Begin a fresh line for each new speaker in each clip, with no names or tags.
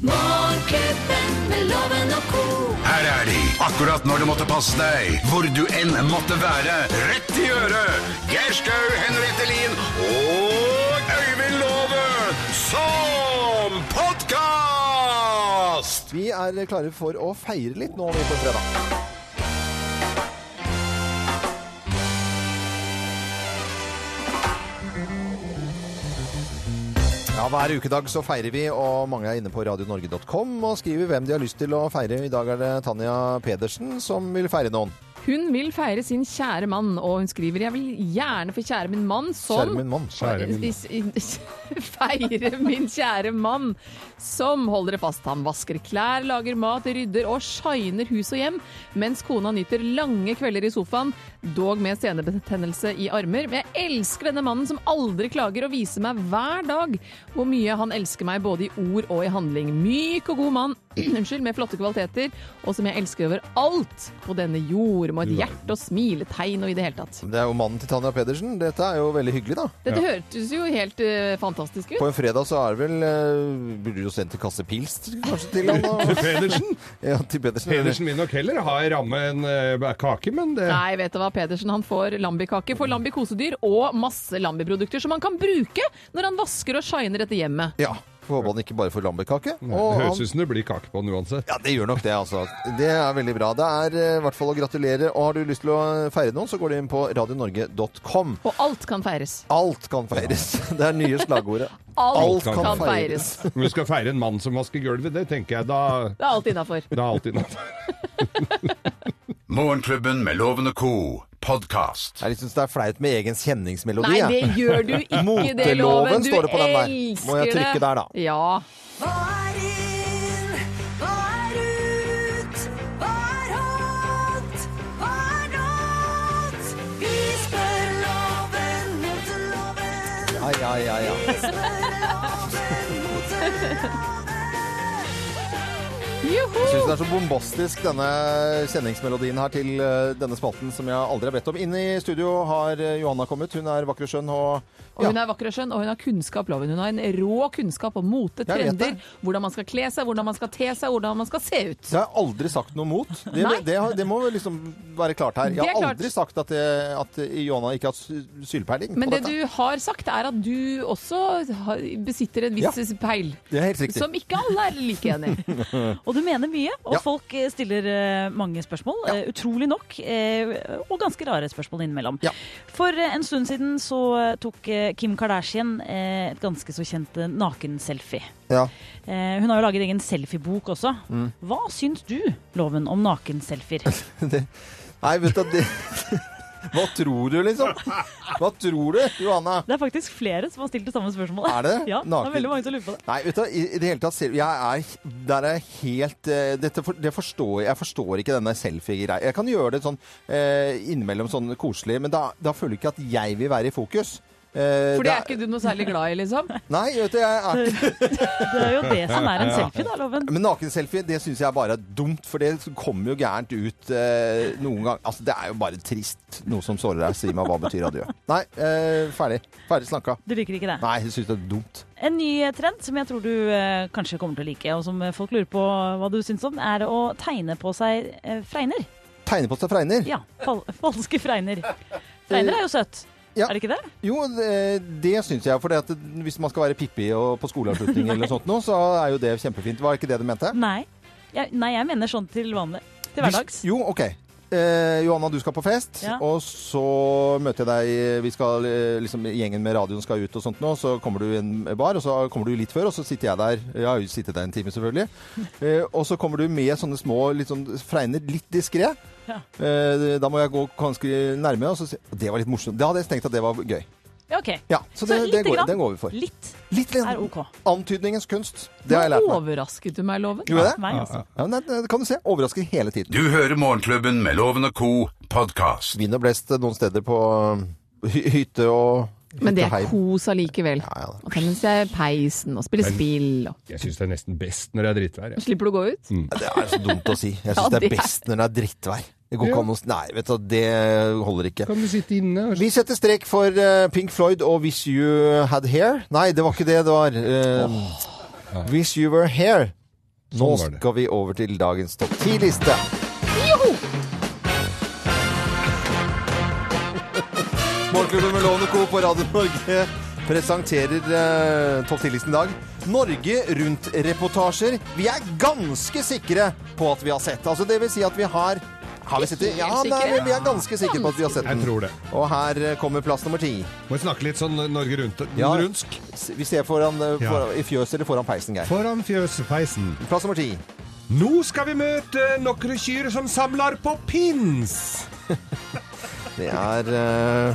Morgenklubben med loven og ko.
Her er de, akkurat når du måtte passe deg, hvor du enn måtte være. Rett i øret! Geir Skau, Henriette Lien og Øyvind Låve som podkast!
Vi er klare for å feire litt nå vi på fredag. Ja, Hver ukedag så feirer vi, og mange er inne på radionorge.com og skriver hvem de har lyst til å feire. I dag er det Tanja Pedersen som vil feire noen.
Hun vil feire sin kjære mann, og hun skriver Jeg vil gjerne få kjære min mann som
Kjære min mann.
Feire min kjære mann som holder det fast. Han vasker klær, lager mat, rydder og shiner hus og hjem, mens kona nyter lange kvelder i sofaen, dog med senebetennelse i armer. Men jeg elsker denne mannen som aldri klager og viser meg hver dag hvor mye han elsker meg både i ord og i handling. Myk og god mann, unnskyld, med flotte kvaliteter, og som jeg elsker over alt på denne jord, med et hjerte og smiletegn og i det hele tatt.
Det er jo mannen til Tanja Pedersen. Dette er jo veldig hyggelig, da.
Dette hørtes jo helt eh, fantastisk ut.
På en fredag så er det vel eh, Burde jo sendt en kasse pils kanskje til han? og-
Pedersen?
Ja, til Pedersen.
Pedersen vil nok heller ha en ramme enn eh, kake, men det
Nei, vet du hva, Pedersen han får lambikake for lambi-kosedyr og masse lambiprodukter som han kan bruke når han vasker og shiner dette hjemmet.
Ja. Får håpe han ikke bare får lambekake.
det
Og
høres
han-
ut som det blir kake på den uansett.
Ja, det gjør nok det, altså. Det er veldig bra. Det er eh, i hvert fall å gratulere. Og har du lyst til å feire noen, så går du inn på radionorge.com.
Og alt kan feires.
Alt kan feires. Det er nye slagordet.
Alt,
Alt
kan,
kan
feires.
Om du skal feire en mann som vasker gulvet, det tenker jeg da
Det er alt innafor.
da er alt innafor.
Morgenklubben med Loven og co. podkast.
Jeg syns det er flaut med egen kjenningsmelodi.
Nei, det
jeg.
gjør du ikke, det
Moteloven
loven. Du
står det på den der.
elsker
Må jeg trykke
det.
der, da?
Ja.
Hva er inn? Hva er ut? Hva er hot? Hva er not? Vi spør loven mot loven.
Ai, ai, ai, ai.
Vi spør loven mot loven.
Jeg syns
Juhu!
det er så bombastisk, denne kjenningsmelodien her til eh, denne spalten som jeg aldri har bedt om. Inn i studio har eh, Johanna kommet. Hun er vakker og skjønn og
Og hun er vakker og skjønn, og hun har kunnskap, loven. Hun har en rå kunnskap om mote,
Jeg vet
trender,
det.
hvordan man skal kle seg, hvordan man skal te seg, hvordan man skal se ut.
Så jeg har aldri sagt noe mot. Det,
Nei.
det, har- det må vel liksom være klart her. Jeg
Det er
har
klart.
aldri sagt at, jeg, at Johanna ikke har sy- sylpeiling. på
Men det
dette.
du har sagt, er at du også har- besitter en viss peil.
Det er helt riktig.
Som ikke alle er like enig i.
Og du mener mye, og
Ja.
folk eh, stiller eh, mange spørsmål. eh, Utrolig nok, eh, og ganske rare spørsmål innimellom.
Ja.
For eh, en stund siden så eh, tok eh, Kim Kardashian eh, et ganske så kjent eh, nakenselfie.
Ja.
Eh, Hun har jo laget egen selfiebok også.
Mm.
Hva syns du, Loven, om nakenselfier?
Nei, vet du det Hva tror du, liksom? Hva tror du, Johanna?
Det er faktisk flere som har stilt det samme spørsmålet.
Er det?
Ja, det
Naken-
er veldig mange som lurer på det.
Nei, vet du, i, i det hele tatt selv- jeg er, Der er jeg helt eh, dette for, det forstår, Jeg forstår ikke denne selfie-greia. Jeg kan gjøre det sånn eh, innimellom sånn koselig, men da, da føler jeg ikke at jeg vil være i fokus. Eh,
For det er ikke du noe særlig glad i, liksom.
Nei, vet du, jeg er ikke
Det er jo det som er en selfie, da, Loven.
Men nakenselfie, det syns jeg bare er dumt, for det kommer jo gærent ut eh, noen gang. Altså, det er jo bare trist. Noe som sårer deg. Si meg hva betyr adjø. Nei, eh, ferdig. Ferdig slanka.
Du liker ikke det?
Nei, jeg syns det er dumt.
En ny trend som jeg tror du eh, kanskje kommer til å like, og som eh, folk lurer på hva du syns om, er å tegne på seg eh, fregner.
Tegne på seg fregner.
Ja, fal falske fregner. Fregner er jo søtt.
Eh, Ja.
Er det ikke det?
Jo, det, det syns jeg. For det at hvis man skal være pippi og på skoleavslutning eller sånt noe, så er jo det kjempefint. Var det ikke det du mente?
Nei. Jeg, nei, jeg mener sånn til vanlig. Til hverdags.
Hvis- Jo, OK. Eh, Johanna, du skal på fest,
Ja.
og så møter jeg deg Vi skal, eh, liksom, Gjengen med radioen skal ut og sånt nå, så kommer du i en bar, og så kommer du litt før, og så sitter jeg der. Jeg har jo sittet der en time, selvfølgelig. Eh, og så kommer du med sånne små litt sånn fregner, litt diskré.
Ja.
Eh, da må jeg gå ganske nærme, og så si Det var litt morsomt. Da hadde jeg tenkt at det var gøy.
Ja, ok.
Ja, så, det,
lite
det går,
grann.
den går vi for.
Litt
Litt litt-
er OK.
Antydningens kunst. Det har jeg
Nå
lært meg.
overrasket du meg, Loven.
Gjorde jeg det?
Meg, altså.
Ja, men det det kan du se. Overrasker hele tiden.
Du hører Morgenklubben med Loven og co. podkast.
Vind og blest noen steder på øh, hy- hytte og
Men det er
hytteheim.
kos allikevel.
Ja, ja.
Og tenner seg peisen og spiller spill og
Jeg syns det er nesten best når det er drittvær. jeg.
Slipper du å gå ut?
Det er så dumt å si. Jeg syns
Ja,
det
det
er
er-
best når det er drittvær. Det går ikke an å Nei, vet du, det holder ikke.
Kan du sitte inne og
Vi setter strek for eh, Pink Floyd og Wish You Had Hair. Nei, det var ikke det det var. eh, Wish You Were Here. Nå
Sånn var det.
skal vi over til dagens topp 10-liste. Morgenklubben med Lovende Co. på Radio Norge presenterer eh, topp 10-listen i dag. Norge Rundt-reportasjer. Vi er ganske sikre på at vi har sett. Altså, det vil si at vi har Har vi sett det?
Ikke
Ja,
helt
nei,
sikre.
men vi er ganske sikre på at vi har sett
Jeg
den.
tror det.
Og her eh, kommer plass nummer ti.
Må vi snakke litt sånn Norge rundt,
Ja.
rundsk.
S- Vi ser foran, eh,
Ja.
foran i fjøset eller foran peisen, Geir.
Foran fjøspeisen.
Plass nummer ti.
Nå skal vi møte nokre kyr som samlar på pins.
Det er eh,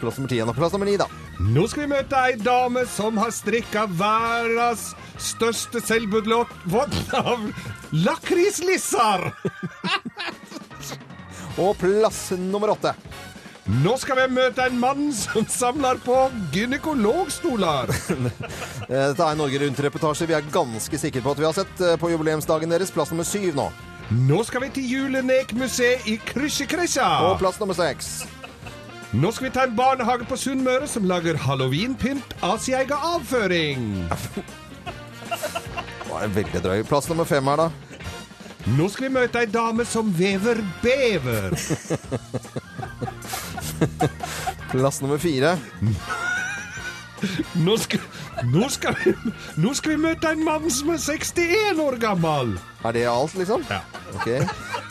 plass nummer ti igjen. Og plass nummer ni, da.
Nå skal vi møte ei dame som har strikka verdens største selvbudlåt av lakrislisser.
Og plass nummer åtte.
Nå skal vi møte en mann som samlar på gynekologstoler.
Eh, Dette er Norge Rundt-reportasje. Vi er ganske sikre på at vi har sett eh, på jubileumsdagen deres. Plass nummer syv nå.
Nå skal vi til Julenekmuseet i
Og
Krysjekrysja.
plass nummer seks.
Nå skal vi ta en barnehage på Sunnmøre som lager halloweenpynt av sin egen avføring.
Det var en veldig drøy. Plass nummer fem her, da.
Nå skal vi møte ei dame som vever bever.
Plass nummer fire.
Nå skal, nå skal, vi, nå skal vi møte en mann som er 61 år gammel.
Er det alt, liksom?
Ja.
Ok.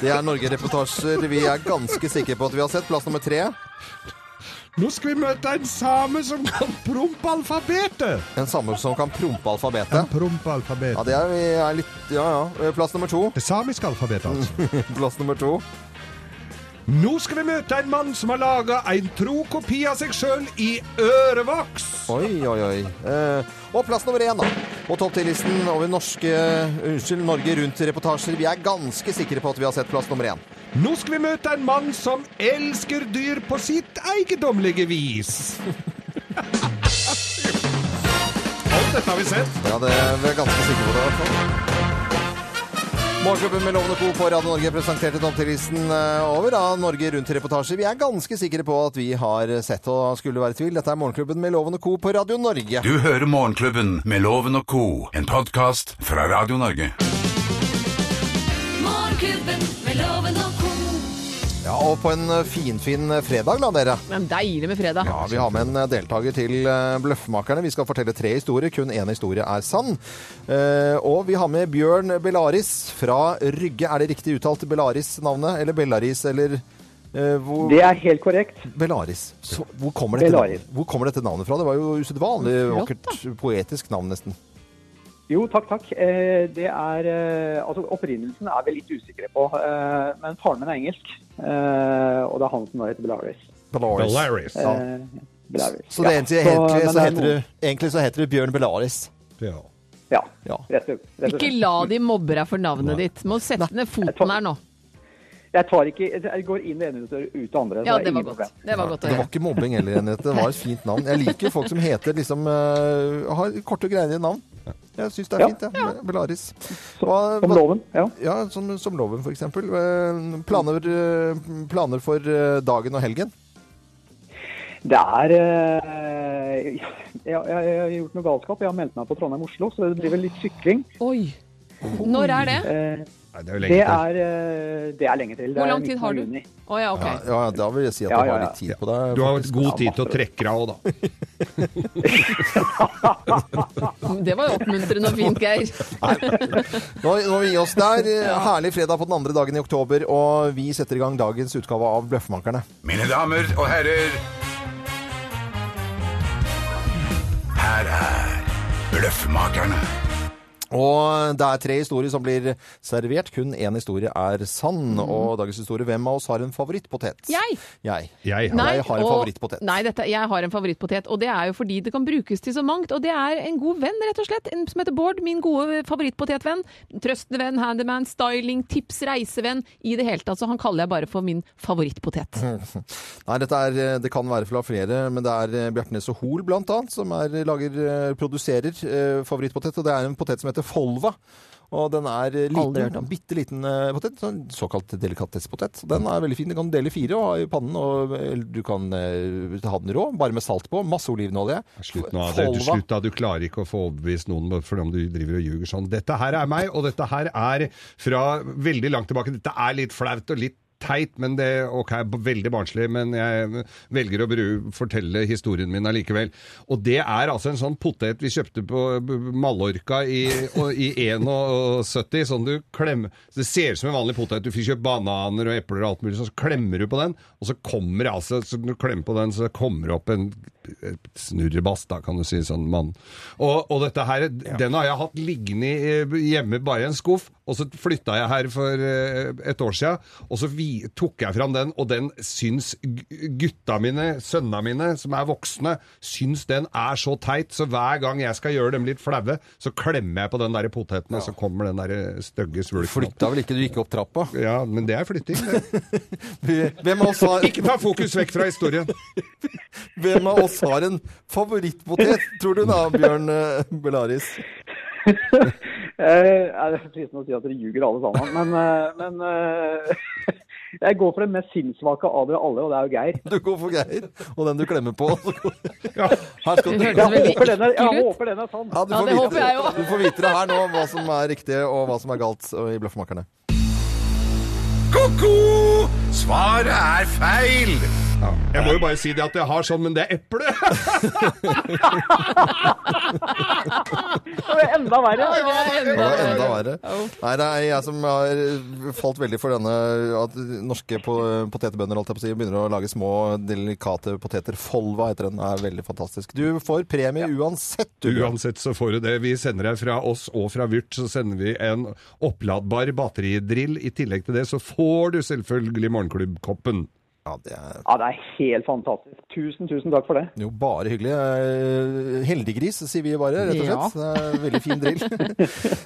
Det er Norge-reportasjer vi er ganske sikre på at vi har sett. Plass nummer tre.
Nå skal vi møte en same som kan prompe alfabetet.
En same som kan prompe alfabetet.
Prompe
Ja,
alfabetet.
det er, vi er litt Ja, ja. Eh, Plass nummer to.
Det samiske alfabetet, altså.
Plass nummer to.
Nå skal vi møte en mann som har laga en tro kopi av seg sjøl i ørevoks.
Oi, oi, oi. Eh, og plass nummer én, da. På topp 10-listen over norske eh, Unnskyld, Norge Rundt-reportasjer. Vi er ganske sikre på at vi har sett plass nummer én.
Nå skal vi møte en mann som elsker dyr på sitt eiendommelige vis. Alt dette har vi sett.
Ja, det er vi er ganske sikre på det, i hvert fall. Morgenklubben med Lovende Co. på Radio Norge presenterte topp 10-listen eh, over da Norge Rundt-reportasjer. Vi er ganske sikre på at vi har sett og skulle være i tvil. Dette er Morgenklubben med Lovende Co. på Radio Norge.
Du hører Morgenklubben med Loven og Co. En podkast fra Radio Norge.
Morgenklubben med loven og ko.
Ja, og på en eh, finfin fredag, da, dere.
Men deilig med fredag.
Ja, Vi har med en eh, deltaker til eh, Bløffmakerne. Vi skal fortelle tre historier. Kun én historie er sann. Eh, Og vi har med Bjørn Belaris fra Rygge. Er det riktig uttalt Belaris-navnet? Eller Bellaris, eller eh, hvor,
Det er helt korrekt.
Bellaris. Så, hvor, kommer dette,
Bellaris.
navnet- hvor kommer dette navnet fra? Det var jo usedvanlig
Flott, da.
vakkert, poetisk navn, nesten.
Jo, takk, takk. Eh, Det er eh, Altså, opprinnelsen er vi litt usikre på. eh, Men faren min er engelsk, eh, og det er han som da heter Belarus.
Bellaris.
Hilarious.
Ja.
Eh,
Så, det egentlig, egentlig, så heter du, egentlig så heter du Bjørn Belaris.
Ja.
Ja.
Ja.
Rett og rett og
Ikke
slett.
la de mobbe deg for navnet ditt. Må sette ned foten her nå.
Jeg tar ikke Jeg går inn det ene og ut det andre. så
Ja,
er
det var
ingen
godt.
problem.
Det var godt å
Det var
gjøre.
ikke mobbing heller, Henriette. Det var et fint navn. Jeg liker jo folk som heter liksom eh, Har korte og greie navn. Jeg syns det er
Ja.
fint, jeg. Ja. Belaris.
Som,
Hva-
som
hva-
loven. Ja.
Ja, som, som loven, for eksempel. Eh, Planer, eh, planer for eh, dagen og helgen?
Det er eh, jeg, jeg, jeg har gjort noe galskap. Jeg har meldt meg på Trondheim-Oslo, så det blir vel litt sykling.
Oi. Når er det?
Eh,
Nei, det er jo
Det
lenge til.
er, eh, det er lenge til. Det
Hvor
er
lang tid
midten
har
av
du?
juni.
Å ja,
Ja,
OK.
ja, da vil jeg si at
Ja,
du
ja,
har
ja.
litt tid på deg.
Du har
faktisk.
god tid til å trekke deg av, da.
Det var jo oppmuntrende og fint, Geir.
Nå, nå må vi gi oss der. Eh, Herlig fredag på den andre dagen i oktober, og vi setter i gang dagens utgave av Bløffmakerne.
Mine damer og herrer Her er Bløffmakerne.
Og det er tre historier som blir servert. Kun én historie er sann. Og dagens historie Hvem av oss har en favorittpotet?
Mhm. Jeg!
Jeg.
Jeg har
Nei. jeg har en favorittpotet.
Nei, dette, jeg har en favorittpotet, og det er jo fordi det kan brukes til så mangt. Og det er en god venn, rett og slett, en som heter Bård. Min gode favorittpotetvenn. Trøstende venn, handyman, styling, tips, reisevenn. I det hele tatt, så han kaller jeg bare for min favorittpotet.
Mhm. Nei, dette er, eh, det kan være fra flere, men det er eh, Bjartnes og Hol blant annet, som er, lager, eh, produserer eh, favorittpotet. Og det er en potet som heter Folva. Og den er eh,
Aldri hørt
liten,
om.
bitte liten potet. Sånn såkalt delikatessepotet. Den er veldig fin. Du kan dele i fire og ha i pannen. Og, eller du kan eh, ha den rå, bare med salt på. Masse olivenolje.
Slutt nå. Det, du,
Folva.
slutt da. Du klarer ikke å få overbevist noen bare fordi om du driver og ljuger sånn. Dette her er meg, og dette her er fra veldig langt tilbake. Dette er litt flaut og litt teit, men det ok, veldig barnslig, men jeg velger å bru- fortelle historien min allikevel. Og det er altså en sånn potet vi kjøpte på B- B- Mallorca i, og- i 71, sånn du klemmer Det ser ut som en vanlig potet. Du fikk kjøpt bananer og epler og alt mulig, sånn, så klemmer du på den, og så kommer det altså så Når du klemmer på den, så kommer det opp en et snurrebass, da, kan du si, sånn mann. Og, og dette her, den har jeg hatt liggende i- eh, hjemme bare i en skuff, og så flytta jeg her for eh, et år siden, og så vi, tok jeg fram den, og den syns gu- gutta mine, sønna mine, som er voksne, syns den er så teit, så hver gang jeg skal gjøre dem litt flaue, så klemmer jeg på den der poteten, og så kommer den der eh, stygge svulsten opp.
Flytta vel ikke du gikk opp trappa?
Ja, men det er flytting. det.
Hvem av oss har,
Ikke ta fokus vekk fra historien.
hvem av oss har en favorittpotet, tror du da, Bjørn eh, Belaris?
Eh, ja, det er fristende å si at dere ljuger alle sammen, men, eh, men eh, jeg går for den mest sinnssvake av dere alle, og det er jo Geir.
Du går for Geir, og den du klemmer på. så går-
Ja.
Her skal du
Det
Jeg
høres veldig
håper den er, jeg
ekkelt ut.
håper den er sann.
Ja, du
Ja,
får
det
vite-
håper jeg også.
Du får vite det her nå, hva som er riktig og hva som er galt eh, i Bløffmakerne.
Ko-ko! Svaret er feil!
Jeg må jo bare si det at jeg har sånn, men det er eple.
Det er enda verre.
Det var
Det
enda
var enda
verre.
verre.
Au.
Nei, det er jeg som har falt veldig for denne at norske po potetbønder holdt jeg på å si, begynner å lage små, delikate poteter. Folva heter den. er veldig fantastisk. Du får premie uansett, du.
Uansett så får du det. Vi sender deg fra oss og fra Vyrt, så sender vi en oppladbar batteridrill. I tillegg til det så får du selvfølgelig Morgenklubbkoppen.
Ja, det er
Ja, det er helt fantastisk. Tusen, tusen takk for det.
jo bare hyggelig. Eh, Heldiggris, sier vi bare, rett og
Ja.
slett. Det er en Veldig fin drill.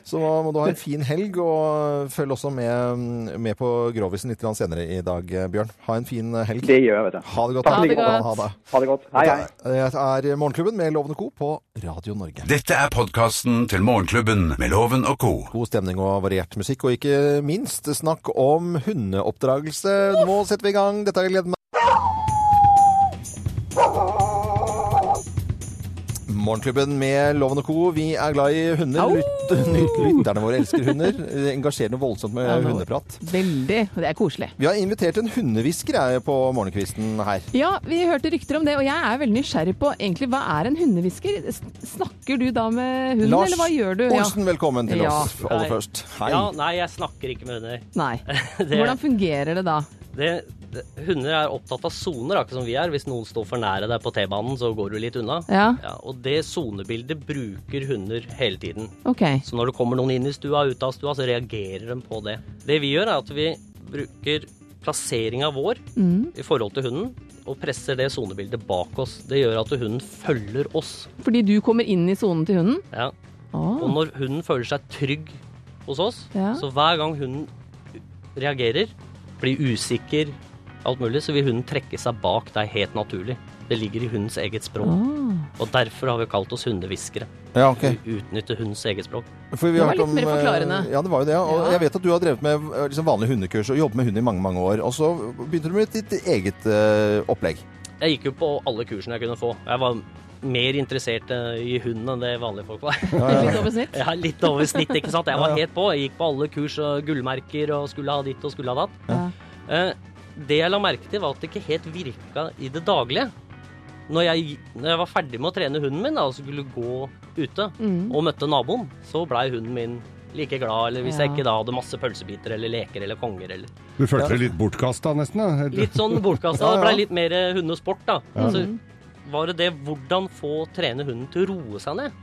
Så nå må du ha en fin helg, og følg også med, med på Grovisen litt grann senere i dag, eh, Bjørn. Ha en fin helg.
Det gjør jeg, vet du.
Ha det godt.
Ha det
godt.
Ha det.
Ha det godt. Hei, hei.
Det er Morgenklubben med Lovende Co. på Radio Norge.
Dette er podkasten til Morgenklubben med Loven og co.
God stemning og variert musikk, og ikke minst snakk om hundeoppdragelse. Nå setter vi i gang. Dette har jeg gledet meg Morgenklubben med Loven og Co. Vi er glad i hunder. Lyt, lyt, lytterne våre elsker hunder. Det engasjerer noe voldsomt med
Ja, nå-
hundeprat.
Veldig. og Det er koselig.
Vi har invitert en hundehvisker jeg, på morgenkvisten her.
Ja, vi hørte rykter om det, og jeg er veldig nysgjerrig på egentlig hva er en hundehvisker? S- Snakker du da med hunden, eller hva gjør du? Ja.
Olsen, velkommen til
Ja.
oss aller
Hei.
først. Hei.
Ja, nei, jeg snakker ikke med hunder.
Nei.
Det-
Hvordan fungerer det da?
Det, det, hunder er opptatt av soner, akkurat som vi er. Hvis noen står for nære deg på T-banen, så går du litt unna.
Ja.
og det sonebildet bruker hunder hele tiden.
OK.
Så når det kommer noen inn i stua, ut av stua, så reagerer de på det. Det vi gjør, er at vi bruker plasseringa vår i forhold til hunden, og presser det sonebildet bak oss. Det gjør at hunden følger oss.
Fordi du kommer inn i sonen til hunden?
Ja. Og
Å.
når hunden føler seg trygg hos oss,
Ja.
så hver gang hunden reagerer, blir usikker, alt mulig, så vil hunden trekke seg bak deg helt naturlig. Det ligger i hundens eget språk. Og derfor har vi kalt oss hundehviskere.
Ja, ok.
Vi utnytter hundens eget språk.
For vi
Det
har
var
hørt
litt mer
eh,
forklarende.
Ja, det var jo det. ja. Og
Ja.
jeg vet at du har drevet med eh, liksom, vanlig hundekurs og jobbet med hund i mange, mange år. Og så begynte du med ditt eget eh, opplegg.
Jeg gikk jo på alle kursene jeg kunne få. Jeg var mer interessert eh, i hunden enn det vanlige folk var.
Litt over snitt?
Jeg er litt over snitt, ikke sant? Jeg var helt på. Jeg gikk på alle kurs og gullmerker og skulle ha ditt og skulle ha datt.
Ja.
Eh, Det jeg la merke til, var at det ikke helt virka i det daglige. Når jeg, når jeg var ferdig med å trene hunden min da, og skulle gå ute
Mm.
og møtte naboen, så blei hunden min like glad, eller hvis jeg
Ja.
ikke da hadde masse pølsebiter eller leker eller konger eller
Du følte deg litt bortkasta, nesten? da?
Litt sånn bortkasta.
Ja, ja.
Det blei litt mer eh, hundesport, da. Så var det det hvordan få trene hunden til å roe seg ned.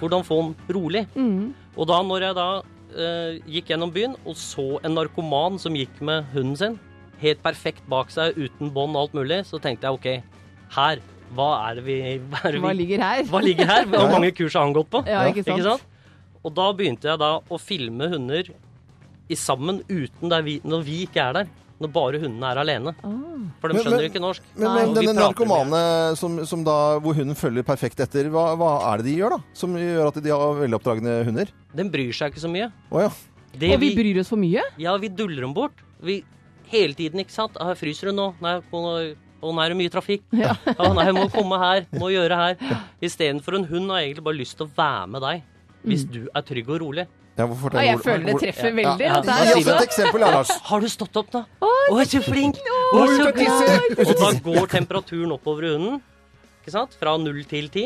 Hvordan få den rolig.
Mm.
Og da når jeg da eh, gikk gjennom byen og så en narkoman som gikk med hunden sin, helt perfekt bak seg, uten bånd og alt mulig, så tenkte jeg OK, her, hva er det vi Hva, er det
Hva
vi,
ligger her?
hva ligger her? Hvor mange kurs har han gått på?
Ja, ikke sant?
Og da begynte jeg da å filme hunder i sammen uten der vi, når vi ikke er der. når bare hundene er alene.
Ah.
For de
Men-
skjønner
men-
jo ikke norsk.
Men,
Og
men
vi
denne
prater mye.
narkomane som, som da, hvor hunden følger perfekt etter, hva, hva er det de gjør da? Som gjør at de har veloppdragne hunder?
Den bryr seg ikke så mye.
Å ja.
Det
Og vi bryr oss for mye?
Ja, vi duller dem bort. Vi, hele tiden, ikke sant? Ah, fryser hun nå? Nei, hun, å, nå er det mye trafikk. Ja. nei, hun må komme her, må gjøre her. Istedenfor en hund har egentlig bare lyst til å være med deg.
Mm.
Hvis du er trygg og rolig.
Ja, hvorfor
Ja,
fortell
jeg
hvor-
føler det
hvor-
treffer
ja,
veldig.
ja.
at det
Gi
er
oss et
altså-
eksempel, ja, Lars.
Har du stått opp, da? Å, så flink! Å, så flink! Og da går temperaturen oppover i hunden. Ikke sant? Fra null til ti.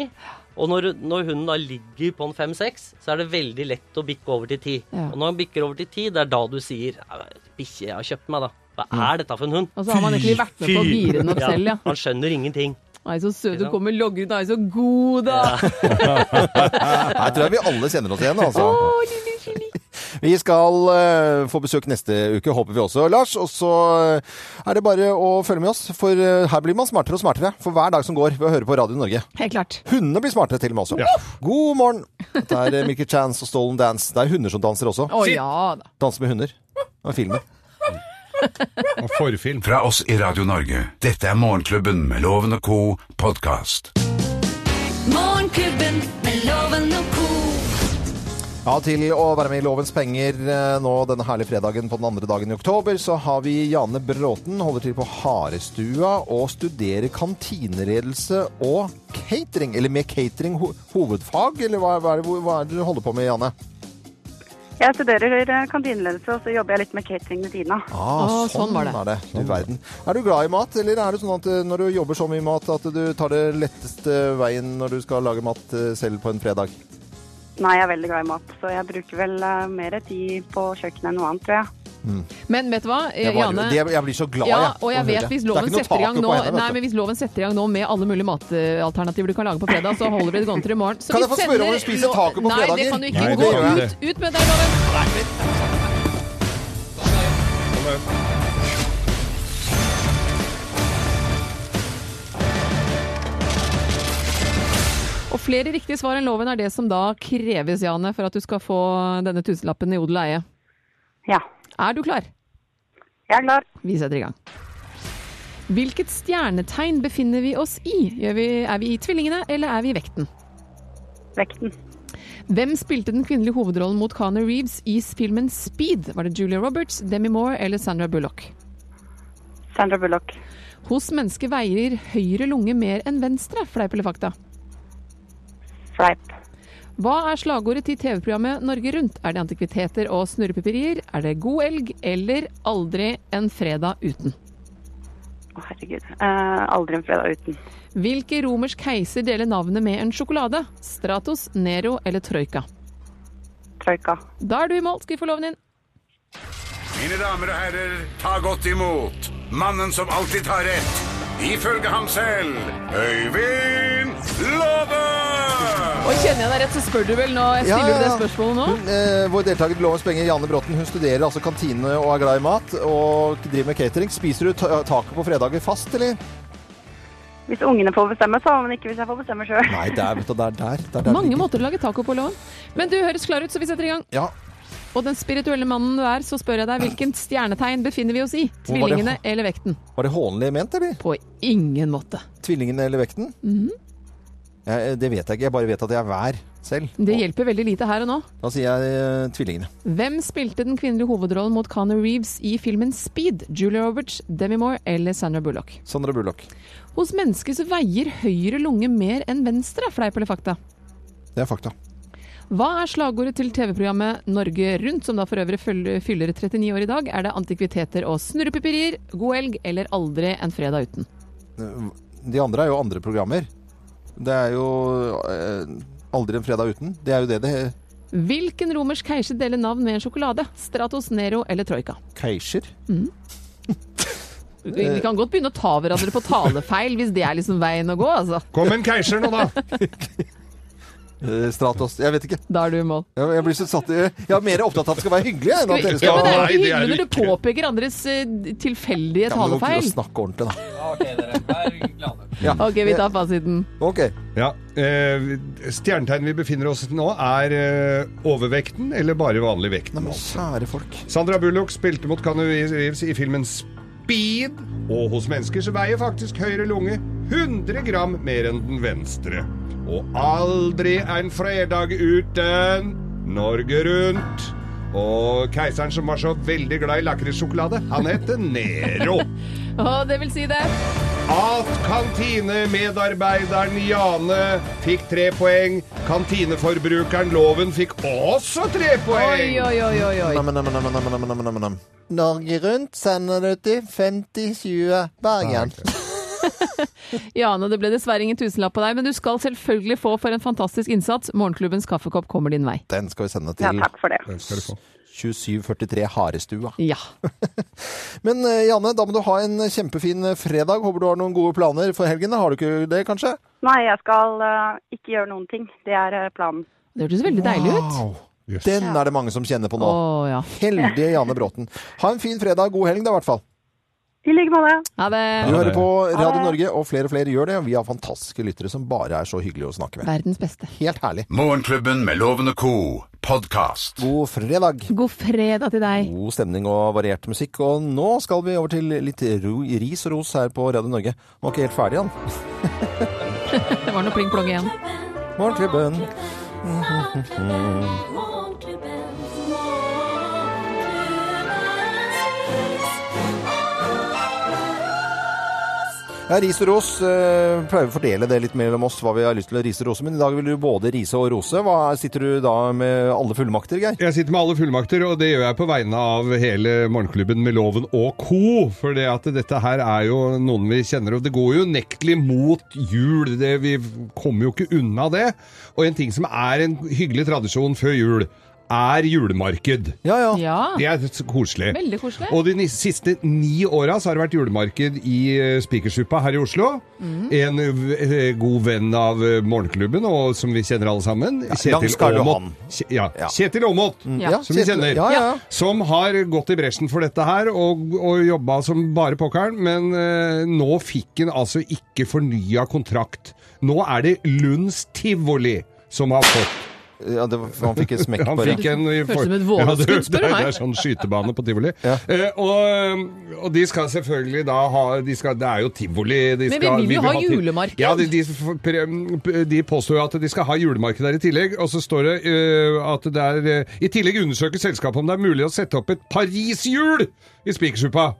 Og når, når hunden da ligger på en fem-seks, så er det veldig lett å bikke over til ti.
Ja.
Og når han bikker over til ti, det er da du sier «Au, 'Bikkje, jeg har kjøpt meg, da'. Hva er dette for en hund?
Og så har man egentlig vært med på å gire den opp
Ja,
selv, ja.
Han skjønner ingenting.
Nei, så søt du kommer logger ut, nei, så god da!
Her tror jeg vi alle kjenner oss igjen, altså.
Å, lille chili.
Vi skal eh, få besøk neste uke, håper vi også, Lars. Og så eh, er det bare å følge med oss, for eh, her blir man smartere og smartere for hver dag som går ved å høre på Radio Norge.
Helt klart.
Hundene blir smartere til og med også. God morgen! Dette er eh, Milky Chance og Stolen Dance. Det er hunder som danser også.
Å ja da.
Danse med hunder. Det er filmen.
Og forfilm.
Fra oss i Radio Norge. Dette er Morgenklubben med Loven og co. podkast.
Morgenklubben med Loven og co.
Ja, til å være med i Lovens penger eh, nå denne herlige fredagen på den andre dagen i oktober, så har vi Jane Bråten, holder til på Harestua og studerer kantineredelse og catering. Eller med catering ho hovedfag, eller hva, hva, er det, hva er det du holder på med, Jane?
Jeg studerer eh, kantineledelse, og så jobber jeg litt med catering ved siden av.
Ah,
Å, sånn var det.
er det. Du verden. Er du glad i mat, eller er det sånn at eh, når du jobber så mye mat, at du tar det letteste veien når du skal lage mat eh, selv på en fredag?
Nei, jeg er veldig glad i mat, så jeg bruker vel eh, mer tid på kjøkkenet enn noe annet, tror jeg.
Men vet du hva,
Jeg, bare,
Jane?
det, jeg blir så glad,
Ja,
jeg,
og
å
jeg
høre.
vet hvis loven
Det er ikke noe
setter i gang
taco
nå
på henne, vet
Nei,
du.
men hvis loven setter i gang nå med alle mulige matalternativer du kan lage på fredag, så holder vi det gående til i morgen. Så vi
Kan jeg få spørre om
sender
du spiser
lo-
taco på
Nei, det
fredager?
kan du
Nei,
ikke.
det
Gå
gjør jeg
ut, ut med deg, loven! Og flere riktige svar enn loven er det som da kreves, Jane, for at du skal få denne tusenlappen i odel og eie.
Ja,
Er du klar?
jeg er klar.
Vi setter i gang. Hvilket stjernetegn befinner vi oss i? Gjør vi, er vi i tvillingene, eller er vi i vekten?
Vekten.
Hvem spilte den kvinnelige hovedrollen mot Connor Reeves i filmen Speed? Var det Julia Roberts, Demi Moore eller Sandra Bullock?
Sandra Bullock.
Hos mennesket veier høyre lunge mer enn venstre, fleip eller fakta?
Fleip.
Hva er slagordet til TV-programmet Norge Rundt? Er det antikviteter og snurrepiperier? Er det god elg eller aldri en fredag uten?
Å, herregud. Eh, aldri en fredag uten.
Hvilke romersk keiser deler navnet med en sjokolade? Stratos, Nero eller Troika?
Troika.
Da er du i mål, skal vi få loven din.
Mine damer og herrer, ta godt imot mannen som alltid tar rett. Ifølge ham selv Øyvind Låve!
Og kjenner jeg deg rett, så spør du vel nå? Jeg
Ja,
stiller
ja,
jo det
ja.
spørsmålet nå.
Hun, eh, vår deltaker i Lovens penger, Janne Bråten, hun studerer altså kantine og er glad i mat. Og driver med catering. Spiser du ta taket på fredager fast, eller?
Hvis ungene får bestemme, så, men ikke hvis jeg får bestemme sjøl.
Nei, det er, vet du, det er der. Det er der
Mange
det ligger.
måter å lage taco på, Loven. Men du høres klar ut, så vi setter i gang.
Ja.
Og den spirituelle mannen du er, så spør jeg deg hvilken stjernetegn befinner vi oss i?
Hvor var det-
Tvillingene eller vekten?
Var det hånlig ment, eller?
På ingen måte.
Tvillingene eller vekten?
Mhm.
Ja, det vet jeg ikke. Jeg bare vet at jeg er hver selv.
Det hjelper veldig lite her og nå.
Da sier jeg eh, tvillingene.
Hvem spilte den kvinnelige hovedrollen mot Connor Reeves i filmen Speed? Julia Roberts, Demi Moore eller Sandra Bullock?
Sandra Bullock.
Hos mennesket så veier høyre lunge mer enn venstre, fleip eller fakta?
Det er fakta.
Hva er slagordet til TV-programmet Norge Rundt, som da for øvrig føl- fyller 39 år i dag? Er det antikviteter og snurrepiperier, god elg eller aldri en fredag uten?
De andre er jo andre programmer. Det er jo eh, Aldri en fredag uten. Det er jo det det
Hvilken romersk keiser deler navn med en sjokolade? Stratos, Nero eller Troika?
Keiser?
Vi vi kan godt begynne å ta hverandre på talefeil hvis det er liksom veien å gå, altså.
Kom en keiser nå, da!
Eh, Stratos? Jeg vet ikke.
Da er du i mål.
Jeg, jeg blir så satt i Jeg er mer opptatt av at det skal være hyggelig enn at
Ja,
dere skal
men det er jo
Nei,
ikke
det er
hyggelig når
det
du påpeker andres eh, tilfeldige
Ja, men nå må vi
talefeil.
snakke ordentlig, da.
Ok, vi tar fasiten.
Ok.
Ja, eh, Stjernetegnet vi befinner oss nå, er eh, overvekten eller bare vanlig vekten?
Nei, men kjære folk.
Sandra Bullock spilte mot Canoe Reeves i filmen Speed. speed, og hos mennesker så veier faktisk høyre lunge 100 gram mer enn den venstre. Og aldri en fredag uten Norge Rundt. Og keiseren som var så veldig glad i lakrissjokolade, han het Nero.
Og det vil si det.
At kantinemedarbeideren Jane fikk tre poeng. Kantineforbrukeren Loven fikk også tre
Oi,
poeng.
oi, oi, oi. oi.
Nam, nam, nam, nam, nam, nam, nam, nam.
Norge Rundt sender det til 5020 Bergen.
Jane, det ble dessverre ingen tusenlapp på deg, men du skal selvfølgelig få for en fantastisk innsats. Morgenklubbens kaffekopp kommer din vei.
Den skal vi sende
Ja,
til
takk for det.
Den skal du få.
2743 Harestua.
Ja.
Men eh, Janne, da må du ha en kjempefin eh, fredag. Håper du har noen gode planer for helgen. Har du ikke det, kanskje?
Nei, jeg skal eh, ikke gjøre noen ting. Det er eh, planen.
Det hørtes veldig deilig ut.
Wow. Den er det mange som kjenner på
Å
nå.
ja.
Heldige Janne Bråten. Ha en fin fredag. God helg, da, i hvert fall.
I like måte.
Ha det.
Du hører på Radio Norge, og flere og flere gjør det. og Vi har fantastiske lyttere som bare er så hyggelige å snakke med.
Verdens beste.
Helt herlig.
Morgenklubben med Loven og co. podkast.
God fredag.
God fredag til deg.
God stemning og variert musikk. Og nå skal vi over til litt ro, ris og ros her på Radio Norge. Var ikke helt ferdig, han.
Det var noe pling-plong igjen.
Morgenklubben. Ja, ris og ros. eh, pleier å fordele det litt mellom oss hva vi har lyst til å rise og rose. Men i dag vil du både rise og rose. Hva Sitter du da med alle fullmakter, Geir?
Jeg sitter med alle fullmakter, og det gjør jeg på vegne av hele Morgenklubben med Loven og co. For det at dette her er jo noen vi kjenner, og det går jo nektelig mot jul. Det, vi kommer jo ikke unna det. Og en ting som er en hyggelig tradisjon før jul, er julemarked.
Ja, ja.
Ja.
Det er så koselig.
Veldig koselig.
Og de ni- siste ni åra så har det vært julemarked i eh, Spikersuppa her i Oslo.
Mhm.
En eh, god venn av eh, morgenklubben, og som vi kjenner alle sammen.
langs Karl
Aamodt.
Johan.
Kje- Ja.
Ja.
Kjetil Aamodt.
Ja.
Som vi
Kjetil-
kjenner.
Ja, ja. ja.
Som har gått i bresjen for dette her og, og jobba som bare pokkeren, men eh, nå fikk han altså ikke fornya kontrakt. Nå er det Lunds Tivoli som har fått.
ja det, var- han fikk en smekk
Han
på
fikk
det.
en
Høres
i
ut som et
Ja,
vådeskudd,
det-
spør du meg.
Det er sånn skytebane på tivoli.
Ja.
Eh, og, og de skal selvfølgelig da ha de skal, Det er jo tivoli. De
Men
skal,
vi vil jo ha
tiv-
julemarked.
Ja, de, de, f- pre- mm, de påstår jo at de skal ha julemarked der i tillegg. Og så står det eh, at det er eh, I tillegg undersøker selskapet om det er mulig å sette opp et pariserhjul i Spikersuppa.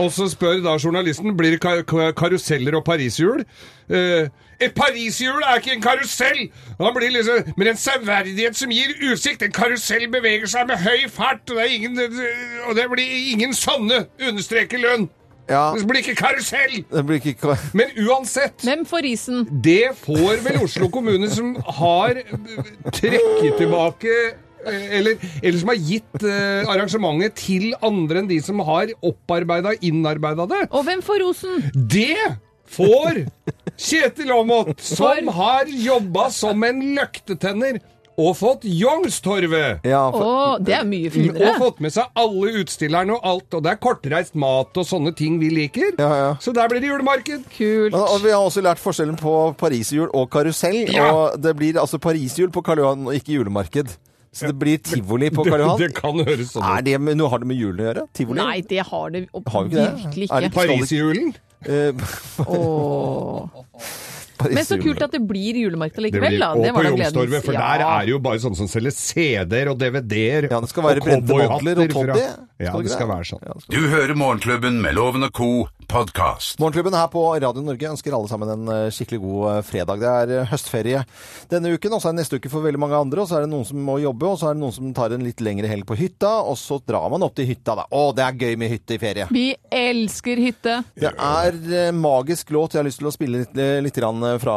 Og så spør da journalisten blir det ka- ka- karuseller og pariserhjul. Eh, et pariserhjul er ikke en karusell! Han blir liksom, Men en severdighet som gir utsikt! En karusell beveger seg med høy fart, og det, er ingen, øh, og det blir ingen sånne understreker lønn!
Ja,
Det blir ikke karusell!
det blir ikke
Men uansett
Hvem får risen?
det får vel Oslo kommune som har eh, trekket tilbake eh, eller, eller som har gitt eh, arrangementet til andre enn de som har opparbeida, innarbeida det.
Og hvem får rosen?
Det får Kjetil Aamodt, som
For?
har jobba som en løktetenner og fått Youngstorget.
ja,
Å,
for,
det er mye
Og
finere.
fått med seg alle utstillerne og alt, og det er kortreist mat og sånne ting vi liker.
ja, ja.
Så der blir det julemarked.
Kult.
Men, og vi har også lært forskjellen på pariserhjul og karusell.
Ja.
Og det blir altså pariserhjul på Karl Johan og ikke julemarked. Så det blir tivoli på Karl
Det
Johan.
kan høres sånn
Er
ut.
det med, noe har det med julene å gjøre? Tivoli?
Nei, det har det opp-
Har vi ikke det?
virkelig
Er det
ikke.
par-
Pariserhjulen.
Eh,
Åh. Men så kult at det blir julemarked
Det blir-
likevel, da. Det
og på
var da gledens-
Youngstorget, for der
Ja.
er det jo bare sånne som selger CD-er og DVD-er.
Ja, det skal være
og
brente
cowboyhatter
bobler og
fra-
toddy.
Ja,
Skal
det
det
skal
det?
være sånn.
Du hører Morgenklubben med Loven og co. podkast.
Morgenklubben her på Radio Norge ønsker alle sammen en eh, skikkelig god eh, fredag. Det er eh, høstferie denne uken, og så er det neste uke for veldig mange andre. Og så er det noen som må jobbe, og så er det noen som tar en litt lengre helg på hytta. Og så drar man opp til hytta, da. Å, det er gøy med hytte i ferie.
Vi elsker hytte.
Det er eh, magisk låt jeg har lyst til å spille litt, litt grann eh, fra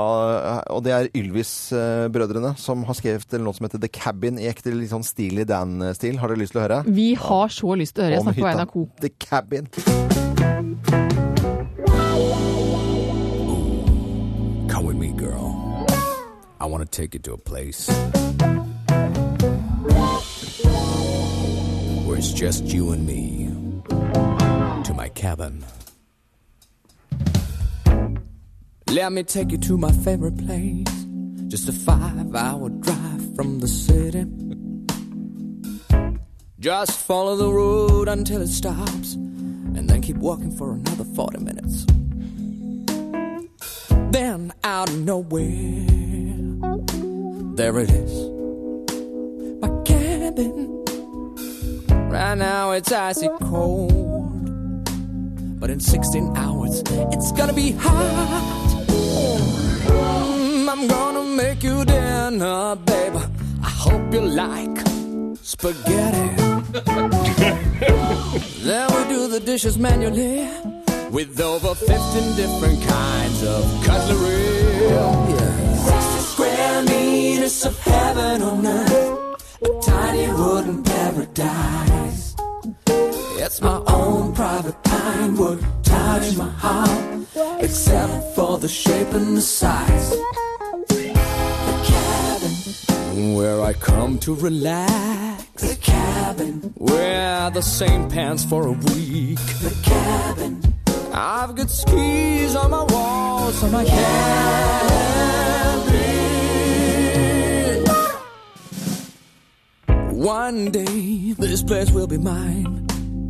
eh, Og det er Ylvis-brødrene som har skrevet en låt som heter The Cabin i ekte litt sånn Steely Dan-stil. Har dere lyst til å høre?
Vi har så lyst til å høre. Jeg
Om
snakker på
hytta.
vegne av Co.
The Cabin.
Come with me, girl. I want to take you to a place where it's just you and me. To my cabin. Let me take you to my favorite place. Just a five hour drive from the city. Just follow the road until it stops, and then keep walking for another 40 minutes. Then, out of nowhere, there it is. My cabin. Right now, it's icy cold. But in 16 hours, it's gonna be hot. Mm, I'm gonna make you dinner, babe. I hope you like spaghetti. then we do the dishes manually with over 15 different kinds of cutlery. Square meters of heaven on earth, a tiny wooden paradise. It's my own private pine wood, touch my heart, except for the shape and the size. Where I come to relax. The cabin. Wear the same pants for a week. The cabin. I've got skis on my walls, on my cabin. One day this place will be mine.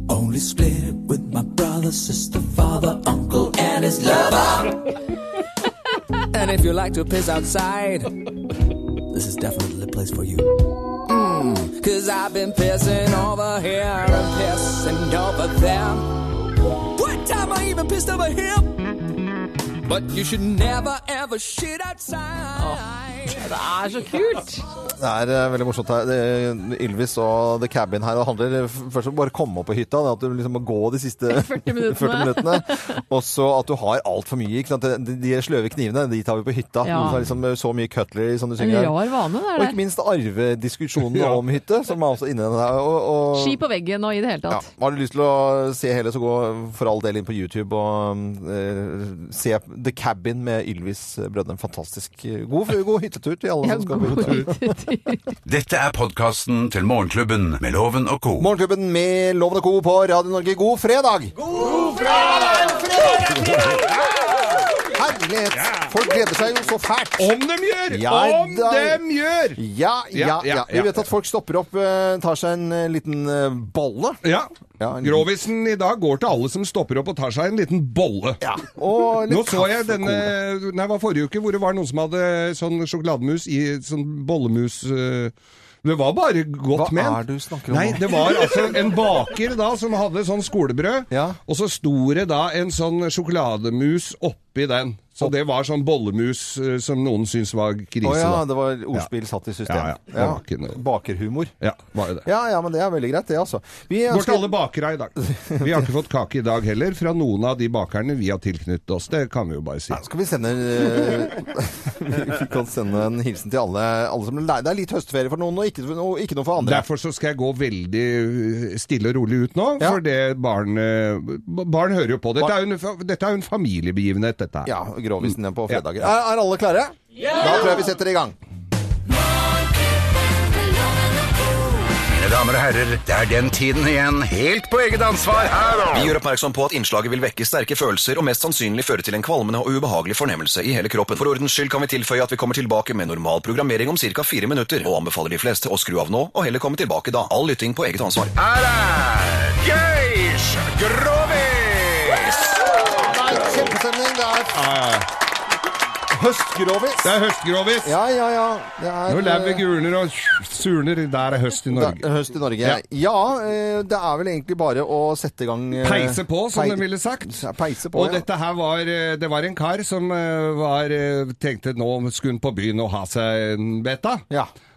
Only split it with my brother, sister, father, uncle, and his lover. and if you like to piss outside, this is definitely the place for you. Mm, Cause I've been pissing over here and pissing over there. What time I even pissed over here? But you should never ever shit outside.
Det er så kult!
Det er eh, veldig morsomt her. Det- Ylvis og The Cabin her. Det handler eh, først om å bare komme opp på hytta. det At du liksom må gå de siste
40 minuttene.
40 minuttene. Og så at du har altfor mye. Ikke sant? De de sløve knivene, de tar vi på hytta.
Ja.
Du har liksom så mye cutlery som du
En
synger. her.
rar vane, det
Og
er
ikke
det.
minst arvediskusjonen om hytte, som er også inne i den her. Og, og,
Ski på veggen og i det hele
ja.
tatt.
Har du lyst til å se hele, så gå for all del inn på YouTube og eh, se The Cabin med Ylvis Brødrene. Fantastisk god, god hyttetur til alle som skal på hyttetur.
Dette er podkasten til Morgenklubben med Loven og co.
Morgenklubben med Loven og Co. på Radio Norge, god fredag!
God fredag!
Herlighet! Folk gleder seg jo så fælt.
Om dem gjør!
Ja,
Om
da-
dem gjør!
Ja,
Ja,
ja, ja.
ja,
Vi vet at folk stopper opp, eh, tar seg en eh, liten eh, bolle.
Ja.
en-
Grovisen i dag går til alle som stopper opp og tar seg en liten bolle.
Og litt
Nå så jeg
kaffe og
denne Nei, det var forrige uke hvor det var noen som hadde sånn sjokolademus i sånn bollemus øh, Det var bare godt
Hva
ment.
er det du snakker om
Nei,
nå?
det var altså en baker da som hadde sånn skolebrød, og så sto det da en sånn sjokolademus oppi den. Så det var sånn bollemus øh, som noen syntes var krise.
Å ja,
da.
det var ordspill satt i system.
Ja, ja. Det var ikke noe.
Bakerhumor.
Ja, var jo det.
Ja, ja, men det er veldig greit, det, altså. Vi
Går til
ønsker-
alle bakere i dag. Vi har ikke fått kake i dag heller fra noen av de bakerne vi har tilknyttet oss. Det kan vi jo bare si.
Skal vi sende eh, Vi kan sende en hilsen til alle, alle som er lei. Det er litt høstferie for noen, og ikke, og ikke noe for andre.
Derfor så skal jeg gå veldig uh, stille og rolig ut nå, for det barn, uh, b- barn hører jo på. Dette er jo en, fa- dette er jo en familiebegivenhet, dette her.
Ja, grovisen på fredager.
Mm. Ja.
Er, er alle klare? Da tror jeg vi setter i gang.
Mine damer og herrer, det er den tiden igjen, helt på eget ansvar her og
Vi gjør oppmerksom på at innslaget vil vekke sterke følelser og mest sannsynlig føre til en kvalmende og ubehagelig fornemmelse i hele kroppen. For ordens skyld kan vi tilføye at vi kommer tilbake med normal programmering om ca. fire minutter, og anbefaler de fleste å skru av nå og heller komme tilbake da. All lytting på eget ansvar.
Her er Geir Grovis!
Det er kjempestemning. Det er høstgrovis.
Det er høstgrovis.
Ja, ja, ja. Det er,
Nå lever
eh,
gulner og surner. Der er høst i
det
Norge.
er høst i Norge. Ja.
Ja.
eh, det er vel egentlig bare å sette i gang eh,
Peise på, som
pei-
de ville sagt.
Peise på,
Og
ja.
dette her var eh, Det var en kar som eh, var eh, tenkte nå skulle han på byen og ha seg en beta.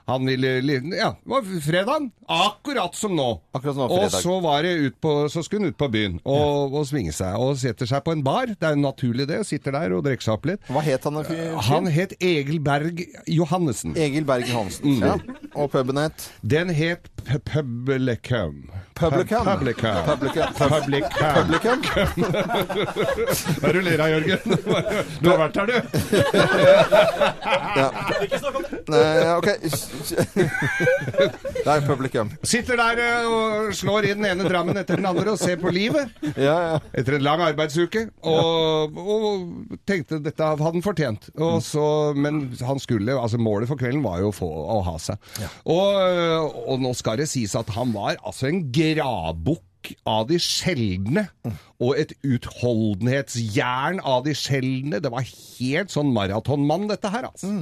Han ville li- Ja, det var fredagen. Akkurat som nå.
Akkurat som nå,
og
fredag.
så, var det ut på, så skulle han ut på byen og, og svinge seg. Og setter seg på en bar. Det er jo naturlig, det. Sitter der og drikker seg opp litt.
Hva het han? fyren?
Eh, Han het Egil Berg Johannessen.
Egil Berg Johansen.
Mm.
Ja. Og puben het?
Den het P- Publicum.
Publicum.
Pub- Publicum.
Publicum.
Publicum.
Publicum.
Hva er det du ler av, Jørgen? Du har vært her, du.
Ja. Nei, ok. Det er publikum.
Sitter der eh, og slår i den ene drammen etter den andre og ser på livet. Etter en lang arbeidsuke. Og, og tenkte dette hadde han fortjent. Og så, men han skulle, altså målet for kvelden var jo å få eh, å ha seg. Og, og nå skal det sies at han var altså en gradbukk. trykk av de sjeldne, og et utholdenhetsjern av de sjeldne. Det var helt sånn maratonmann, dette her, altså.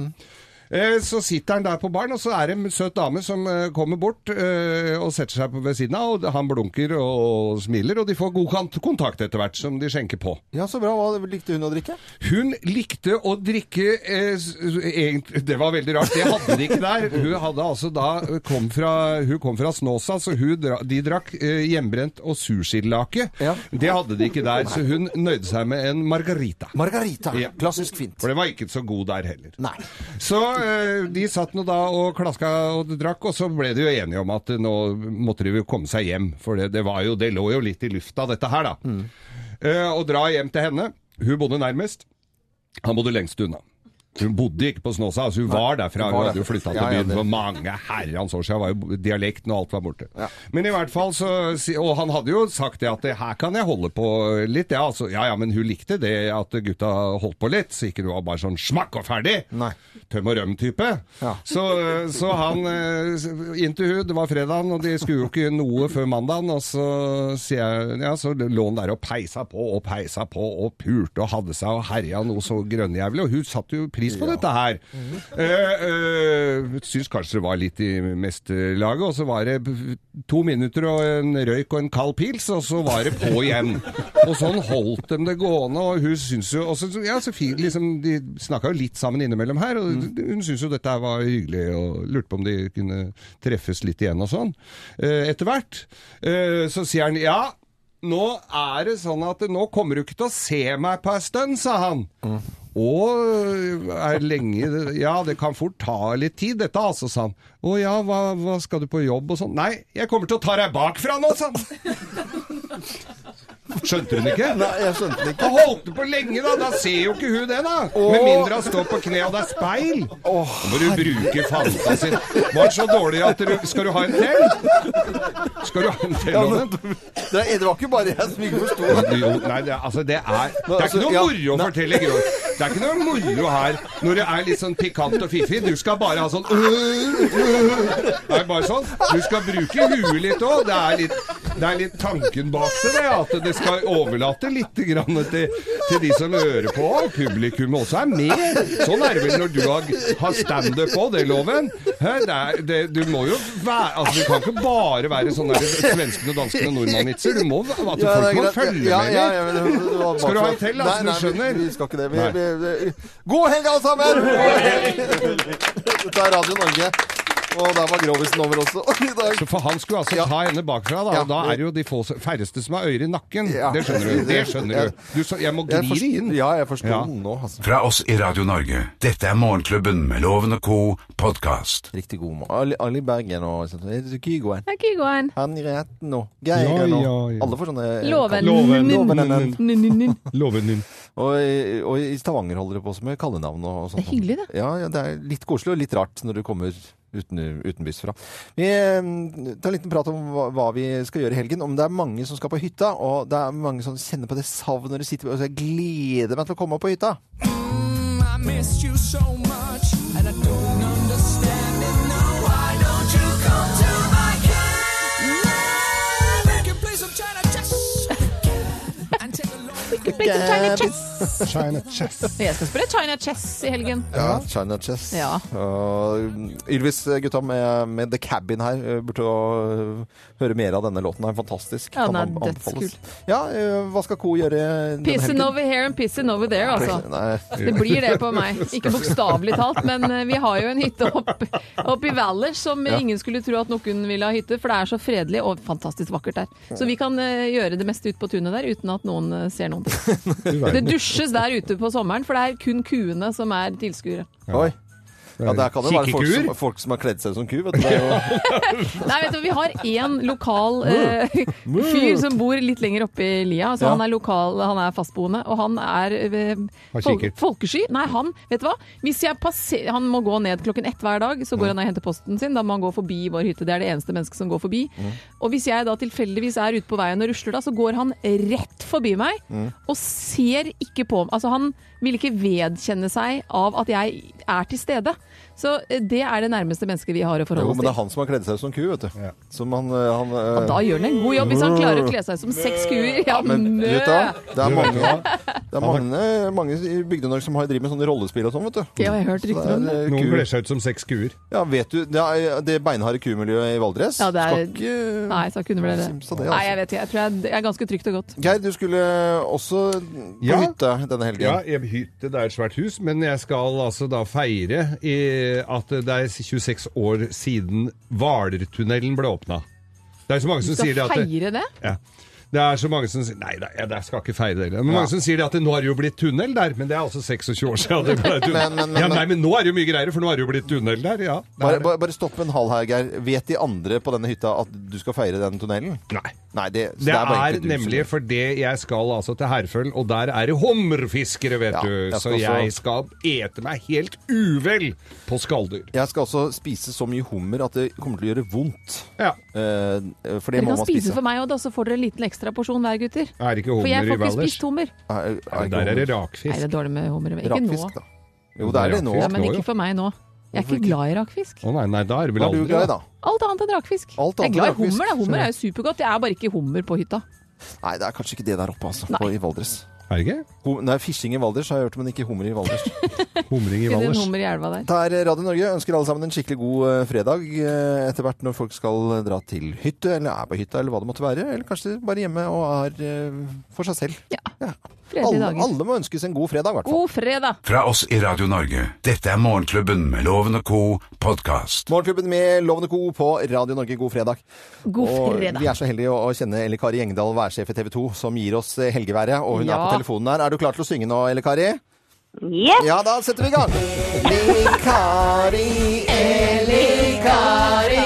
Eh, Så sitter han der på baren, og så er det en søt dame som eh, kommer bort eh, og setter seg på- ved siden av. og Han blunker og smiler, og de får god kont- kontakt etter hvert som de skjenker på.
Ja, så bra. Hva likte hun å drikke?
Hun likte å drikke eh, s- egentlig, Det var veldig rart. Det hadde de ikke der. Hun hadde altså da kom fra, hun kom fra Snåsa, så hun, dra- de drakk eh, hjemmebrent og sushilake. Det hadde de ikke der, så hun nøyde seg med en margarita.
Margarita,
Klassisk fint. For den var ikke så god der heller. Så eh, de satt nå da og klaska og drakk, og så ble de jo enige om at eh, nå måtte de jo komme seg hjem. For det, det, var jo, det lå jo litt i lufta, dette her, da.
Mm.
Eh, og dra hjem til henne. Hun bodde nærmest. Han bodde lengst unna. Hun bodde ikke på Snåsa, altså hun var derfra.
hun
Hun
var
hadde jo
derfra.
flytta til
Ja, ja,
byen
det-
for mange herrens år siden. Var jo dialekten og alt var borte. Men i hvert fall så si- Og han hadde jo sagt det at det her kan jeg holde på litt, ja. Altså, ja ja, men hun likte det at gutta holdt på litt, så ikke det var bare sånn smakk og ferdig. Tøm og røm-type. Så, så han eh, Inn til hun, det var fredagen, og de skulle jo ikke noe før mandagen, og så sier jeg Ja, så lå han der og peisa på og peisa på og pulte og hadde seg og herja noe så grønnjævlig, og hun satte jo pris på dette her. Uh, syns kanskje det var litt i mesterlaget, og så var det p- to minutter og en røyk og en kald pils, og så var det på igjen. Og sånn holdt de det gående, og hun syns jo og så, ja, så fint, liksom, De snakka jo litt sammen innimellom her, og hun syntes jo dette her var hyggelig, og lurte på om de kunne treffes litt igjen og sånn. Eh, Etter hvert eh, så sier han ja. Nå er det sånn at nå kommer du ikke til å se meg på ei stund, sa han. Og eh, er lenge Ja, det kan fort ta litt tid, dette, altså, sa han. Å ja, hva, hva skal du på jobb og sånn? Nei, jeg kommer til å ta deg bakfra nå, sa han. Skjønte hun ikke?
Nei, jeg skjønte det ikke.
Da holdt du på lenge, da. Da ser jo ikke hun det, da. Med mindre hun står på kne og det er speil. Da må du bruke fantasien. Var det så dårlig at du Skal du ha en til? Skal du ha en til?
Ja,
Loven?
men, det, er- det var ikke bare jeg som ikke forsto det.
Jo, nei, det, er- altså, det er Det er
altså,
ikke noe
ja,
moro å fortelle grå. Det er ikke noe moro her når det er litt sånn pikant og fiffig. Du skal bare ha sånn øh, øh. Det er bare sånn. Du skal bruke huet litt òg. Det, er litt- det er litt tanken bak det, det. At det skal overlate litt grann til, til de som hører på. og Publikum også er med. Sånn er det vel når du har, har standup òg, det, Loven. Hæ, Det er, det, du må jo være Altså, du kan ikke bare være sånn der svenskene, danskene, nordmannitser. Du må at folk
Ja, det er
må
greit.
følge
Ja,
med
ja,
litt.
ja, men det- det var
Skal du ha
bare-
en til, da, så
Nei,
du
nei, vi-
skjønner?
Vi, skal ikke det. Vi,
Nei.
vi, vi. God helg, alle sammen! Dette er Radio Norge. Og der var Grovisen over også i dag.
Så for han skulle altså ta henne bakfra, da. Og da er det jo de få, færreste som har ører i nakken. Det skjønner du. Det skjønner du. du så, jeg må gni
Jeg
det
forst-
inn.
Ja, jeg forsto
Ja.
den nå. Altså.
Fra oss i Radio Norge, dette er Morgenklubben med Loven og co. podkast.
Riktig god morgen. Ali, Ali Bergen og sånt. Er det Kygoen?
Det er ikke gåen.
Henriette nå. Geir
Ja,
nå.
ja, ja.
Alle får sånne
Loven.
Loven.
Loven. Loven.
Loven din.
Og, i- og i Stavanger holder det på som med kallenavn og sånt.
Det er hyggelig, det.
Ja, ja, det er litt koselig og litt rart når du kommer uten, utenbys fra. Vi eh, tar en liten prat om hva, hva vi skal gjøre i helgen. Om det er mange som skal på hytta, og det er mange som kjenner på det savnet når de sitter og så Jeg gleder meg til å komme på hytta.
I missed you so much, and I don't understand it now. Why don't you come to my camp? We can play some China chess. and take a long
We can play some China chess.
China chess.
Jeg skal spille China Chess i helgen.
Ja, China Chess.
Ja.
Og Ylvis-gutta med, med The Cabin her eh, burde jo eh, høre mer av denne låten. her. Fantastisk.
Ja, den er
Kan an- anbefales.
dødskul.
Ja, eh, hva skal Co gjøre denne
Pissing
helgen?
over here and pissing over there, altså.
Nei.
Det blir det på meg. Ikke bokstavelig talt, men eh, vi har jo en hytte oppe opp i Valers som
Ja.
ingen skulle tro at noen ville ha hytte, for det er så fredelig og fantastisk vakkert der. Så vi kan eh, gjøre det meste ute på tunet der uten at noen eh, ser noen ting. Det dusjes der ute på sommeren, for det er kun kuene som er tilskuere.
Oi. Ja, der kan det være folk
Kikkekuer?
som, folk som har kledd seg som ku, vet du. Det er jo-
Nei, vet du, vi har én lokal eh, fyr som bor litt lenger oppe i lia. Så
Ja.
han er lokal, han er fastboende, og han er eh,
Har
fol
kikkert.
folkesky. Nei, han, vet du hva? Hvis jeg passer, han må gå ned klokken ett hver dag, så går han og henter posten sin. Da må han gå forbi vår hytte. Det er det eneste mennesket som går forbi.
Mm.
Og hvis jeg da tilfeldigvis er ute på veien og rusler da, så går han rett forbi meg
Mm.
og ser ikke på Altså, han vil ikke vedkjenne seg av at jeg er til stede. Så eh, det er det nærmeste mennesket vi har å
Jo,
forholde
men det er
oss til.
han som har kledd seg ut som ku, vet du. Som han, eh, han, eh,
Og da gjør han en god jobb hvis han klarer å kle seg som seks kuer. Ja,
Men
mø!
vet du hva? Det
Du
er
vet
mange, det er mange, mange i Bygde-Norge som har driver med sånne rollespill og sånn, vet du.
Det har jeg hørt rykter om, det.
Noen kler seg ut som seks kuer.
eh, Ja, vet du, det, er, eh, det beinharde kumiljøet i Valdres
Ja, det er,
Skal ikke
nei, jeg skal ikke undervurdere
Simse av
det.
det,
Nei,
altså.
jeg vet ikke. Jeg tror jeg, jeg er ganske trygt og godt.
Geir, du skulle også på
Ja.
hytte denne helgen.
Ja, jeg hytte, det er et svært hus, men jeg skal altså da feire i, at det er 26 år siden Hvalertunnelen ble åpna. Det er så mange
Du
som
skal
sier det at det,
feire det?
ja. Det er så mange som sier Nei, nei jeg jeg skal ikke feire det. Men
Ja.
mange som sier det at det, nå har det jo blitt tunnel der, men det er altså 26 år siden. Det ble tunnel.
Men- men- men-
ja, nei, men nå er det jo mye greiere, for nå har det jo blitt tunnel der. Ja, det
Bare,
er det.
bare, bare stopp en hal her, Geir. Vet de andre på denne hytta at du skal feire den tunnelen?
Nei.
Nei, det, så
Det
det er bare
er
egentlig du som-
nemlig fordi jeg skal altså til Herføl, og der er det hummerfiskere, vet
Ja, jeg
du.
skal
Så
også-
jeg skal ete meg helt uvel på skalldyr.
Jeg skal også spise så mye hummer at det kommer til å gjøre vondt.
Ja.
Eh, for det
Dere
må
kan
man
spise
spise.
for meg òg, så får dere en liten ekstra porsjon hver, gutter.
Er ikke
For jeg får
hummer i
ikke
Valdres?
spist hummer.
Er- er
Der er
ikke
det
hummer.
Nei, det
rakfisk.
er dårlig med hummer. Ikke
Rakfisk,
nå.
da. Jo, det er det nå.
Rakfisk
Ja, men
nå,
ikke
jo.
for meg nå. Jeg er
Hvorfor
ikke
ikke?
glad i rakfisk.
Å nei, nei, da er det vel
Hva er du
aldri
glad i,
da.
da?
Alt annet enn rakfisk.
Alt
Jeg er
annet
glad i
enn rakfisk,
hummer. da. Hummer
skjønner
er jo supergodt. Det er bare ikke hummer på hytta.
Nei, det er kanskje ikke det der oppe, altså.
Nei.
På, I Valdres.
Er det ikke?
Hum- Nei, fishing i Valdres har jeg hørt, men ikke hummer i Valdres.
Humring i
Finner en
Valdres.
hummer i elva der.
Det er Radio Norge. Ønsker alle sammen en skikkelig god eh, fredag eh, etter hvert når folk skal dra til hytte, eller er på hytta, eller hva det måtte være. Eller kanskje bare hjemme og er eh, for seg selv.
Ja.
Ja.
Fredelige
Alle,
dager.
alle må ønskes en god fredag, i hvert fall.
God fredag!
Fra oss i Radio Norge. Dette er Morgenklubben med Loven og co. podkast.
Morgenklubben med Lovende Co. på Radio Norge, god fredag.
God
Og vi
fredag.
er så heldige å å kjenne Elle Kari Engdahl, værsjef i TV 2, som gir oss eh, helgeværet. Og hun er
Ja.
på telefonen her. Er du klar til å synge nå, Elle Kari?
Yes!
Ja, da setter vi i gang. Likari, elikari,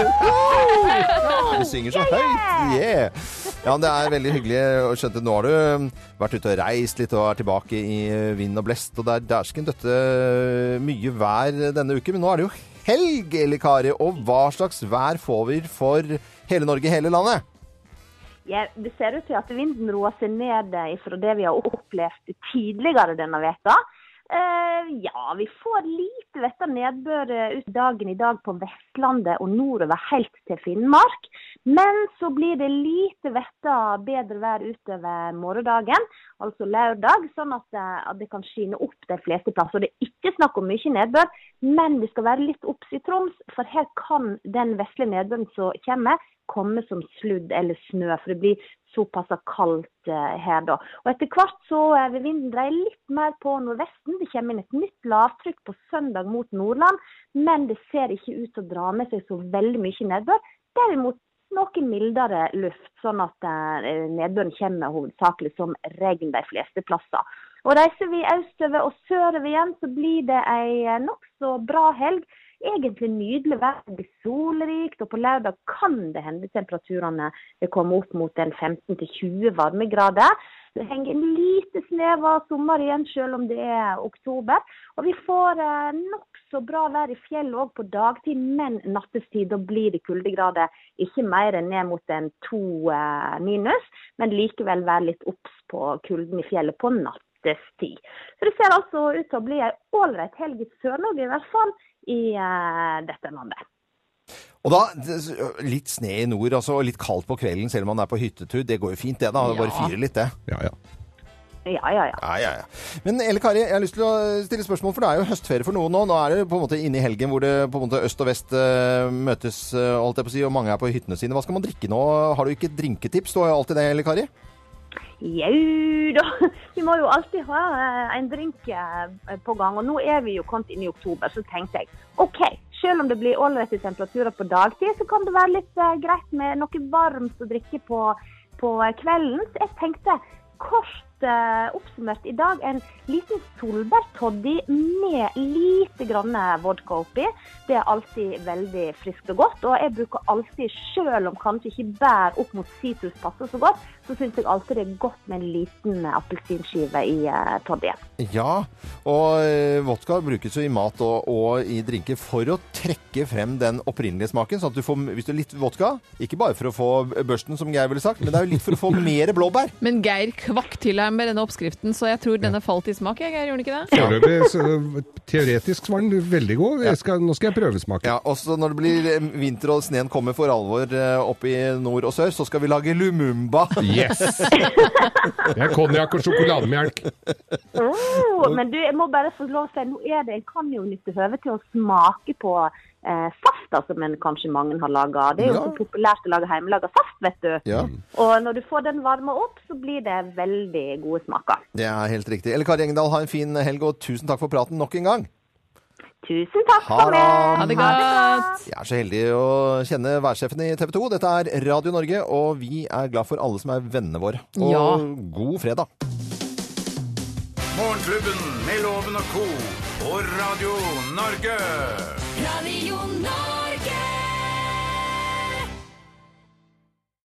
elikari. Du synger så høyt. Yeah. Ja, men Det er veldig hyggelig. og skjønte Nå har du um, vært ute og reist litt og er tilbake i uh, vind og blest. Og det er dæsken døtte uh, mye vær denne uken. Men nå er det jo helg, Elikari. Og hva slags vær får vi for hele Norge, hele landet?
Ja, det ser ut til at vinden roer seg ned eh, ifra det vi har opplevd tidligere denne veka. Eh, ja, vi får lite vettet nedbør eh, ut dagen i dag på Vestlandet og nordover helt til Finnmark. Men så blir det lite vettet bedre vær utover morgendagen, altså lørdag, sånn at, eh, at det kan skine opp de fleste plasser. Det er ikke snakk om mye nedbør, men vi skal være litt obs i Troms, for her kan den vesle nedbøren som kommer, komme som sludd eller snø, for det blir såpass kaldt eh, her da. Og Etter hvert så eh, vil vinden dreie litt mer på nordvesten. Det kommer inn et nytt lavtrykk på søndag mot Nordland, men det ser ikke ut til å dra med seg så veldig mye nedbør. Derimot noe mildere luft, sånn at eh, nedbøren kommer hovedsakelig som regn de fleste plasser. Og Reiser vi østover og sørover igjen, så blir det ei eh, nokså bra helg. Egentlig nydelig vær, det blir solrikt, og på lørdag kan det hende temperaturene vil komme opp mot en 15-20 varmegrader. Det henger en lite snev av sommer igjen, selv om det er oktober. Og vi får eh, nokså bra vær i fjellet òg på dagtid, men nattestid da blir det kuldegrader. Ikke mer enn ned mot en to eh, minus, men likevel være litt obs på kulden i fjellet på nattestid. Så det ser altså ut til å bli ei ålreit helg i Sør-Norge, i hvert fall i eh, dette landet.
Og da, det- Litt sne i nord altså, og litt kaldt på kvelden selv om man er på hyttetur. Det går jo fint, det. da, Det Bare
Ja.
fyre litt, det.
Ja, ja.
Ja, ja, ja.
Ja, ja, ja. Men Elle Kari, jeg har lyst til å stille spørsmål, for det er jo høstferie for noen nå. Nå er det på en måte inne i helgen hvor det på en måte øst og vest eh, møtes, eh, holdt jeg på å si, og mange er på hyttene sine. Hva skal man drikke nå? Har du ikke drinketips? Du har jo alltid det, Elle Kari.
Jau da. Vi må jo alltid ha eh, en drink eh, på gang. Og nå er vi jo kommet inn i oktober, så tenkte jeg OK. Selv om det blir ålreite temperaturer på dagtid, så kan det være litt eh, greit med noe varmt å drikke på, på kvelden. Så jeg tenkte kors fått eh, oppsummert i dag en liten solbærtoddy med lite grann eh, vodka oppi. Det er alltid veldig friskt og godt. Og jeg bruker alltid, selv om kanskje ikke bær opp mot sitrus passer så godt, så syns jeg alltid det er godt med en liten eh, appelsinskive i eh, toddyen.
Ja, og eh, vodka brukes jo i mat og, og i drinker for å trekke frem den opprinnelige smaken. sånn at du får, Hvis du har litt vodka, ikke bare for å få børsten, som Geir ville sagt, men det er jo litt for å få mer blåbær.
Men Geir kvakk til her med denne oppskriften, så jeg tror denne falt i smak. jeg, Geir, gjorde den ikke det?
Foreløpig, så, teoretisk var den veldig god. Jeg skal, nå skal jeg prøvesmake.
Ja, og så når det blir eh, vinter og sneen kommer for alvor eh, opp i nord og sør, så skal vi lage lumumba.
Yes! Det er konjakk og sjokolademelk.
Oh, men du, jeg må bare få lov til å si, nå er det, en kan jo nytte høve til å smake på eh, saft, altså, men kanskje mange har laga. Det er jo
Ja.
så populært å lage hjemmelaga saft, vet du.
Ja.
Og når du får den varma opp, så blir det veldig gode smaker.
Det er helt riktig. Elle Kari Engdahl, ha en fin helg, og tusen takk for praten nok en gang.
Tusen takk
for
Ha det godt!
Jeg er så heldig å kjenne værsjefen i TV 2. Dette er Radio Norge, og vi er glad for alle som er vennene våre. Og
Ja.
god fredag.
Morgenklubben med Loven og co. på Radio Norge.
Radio Norge.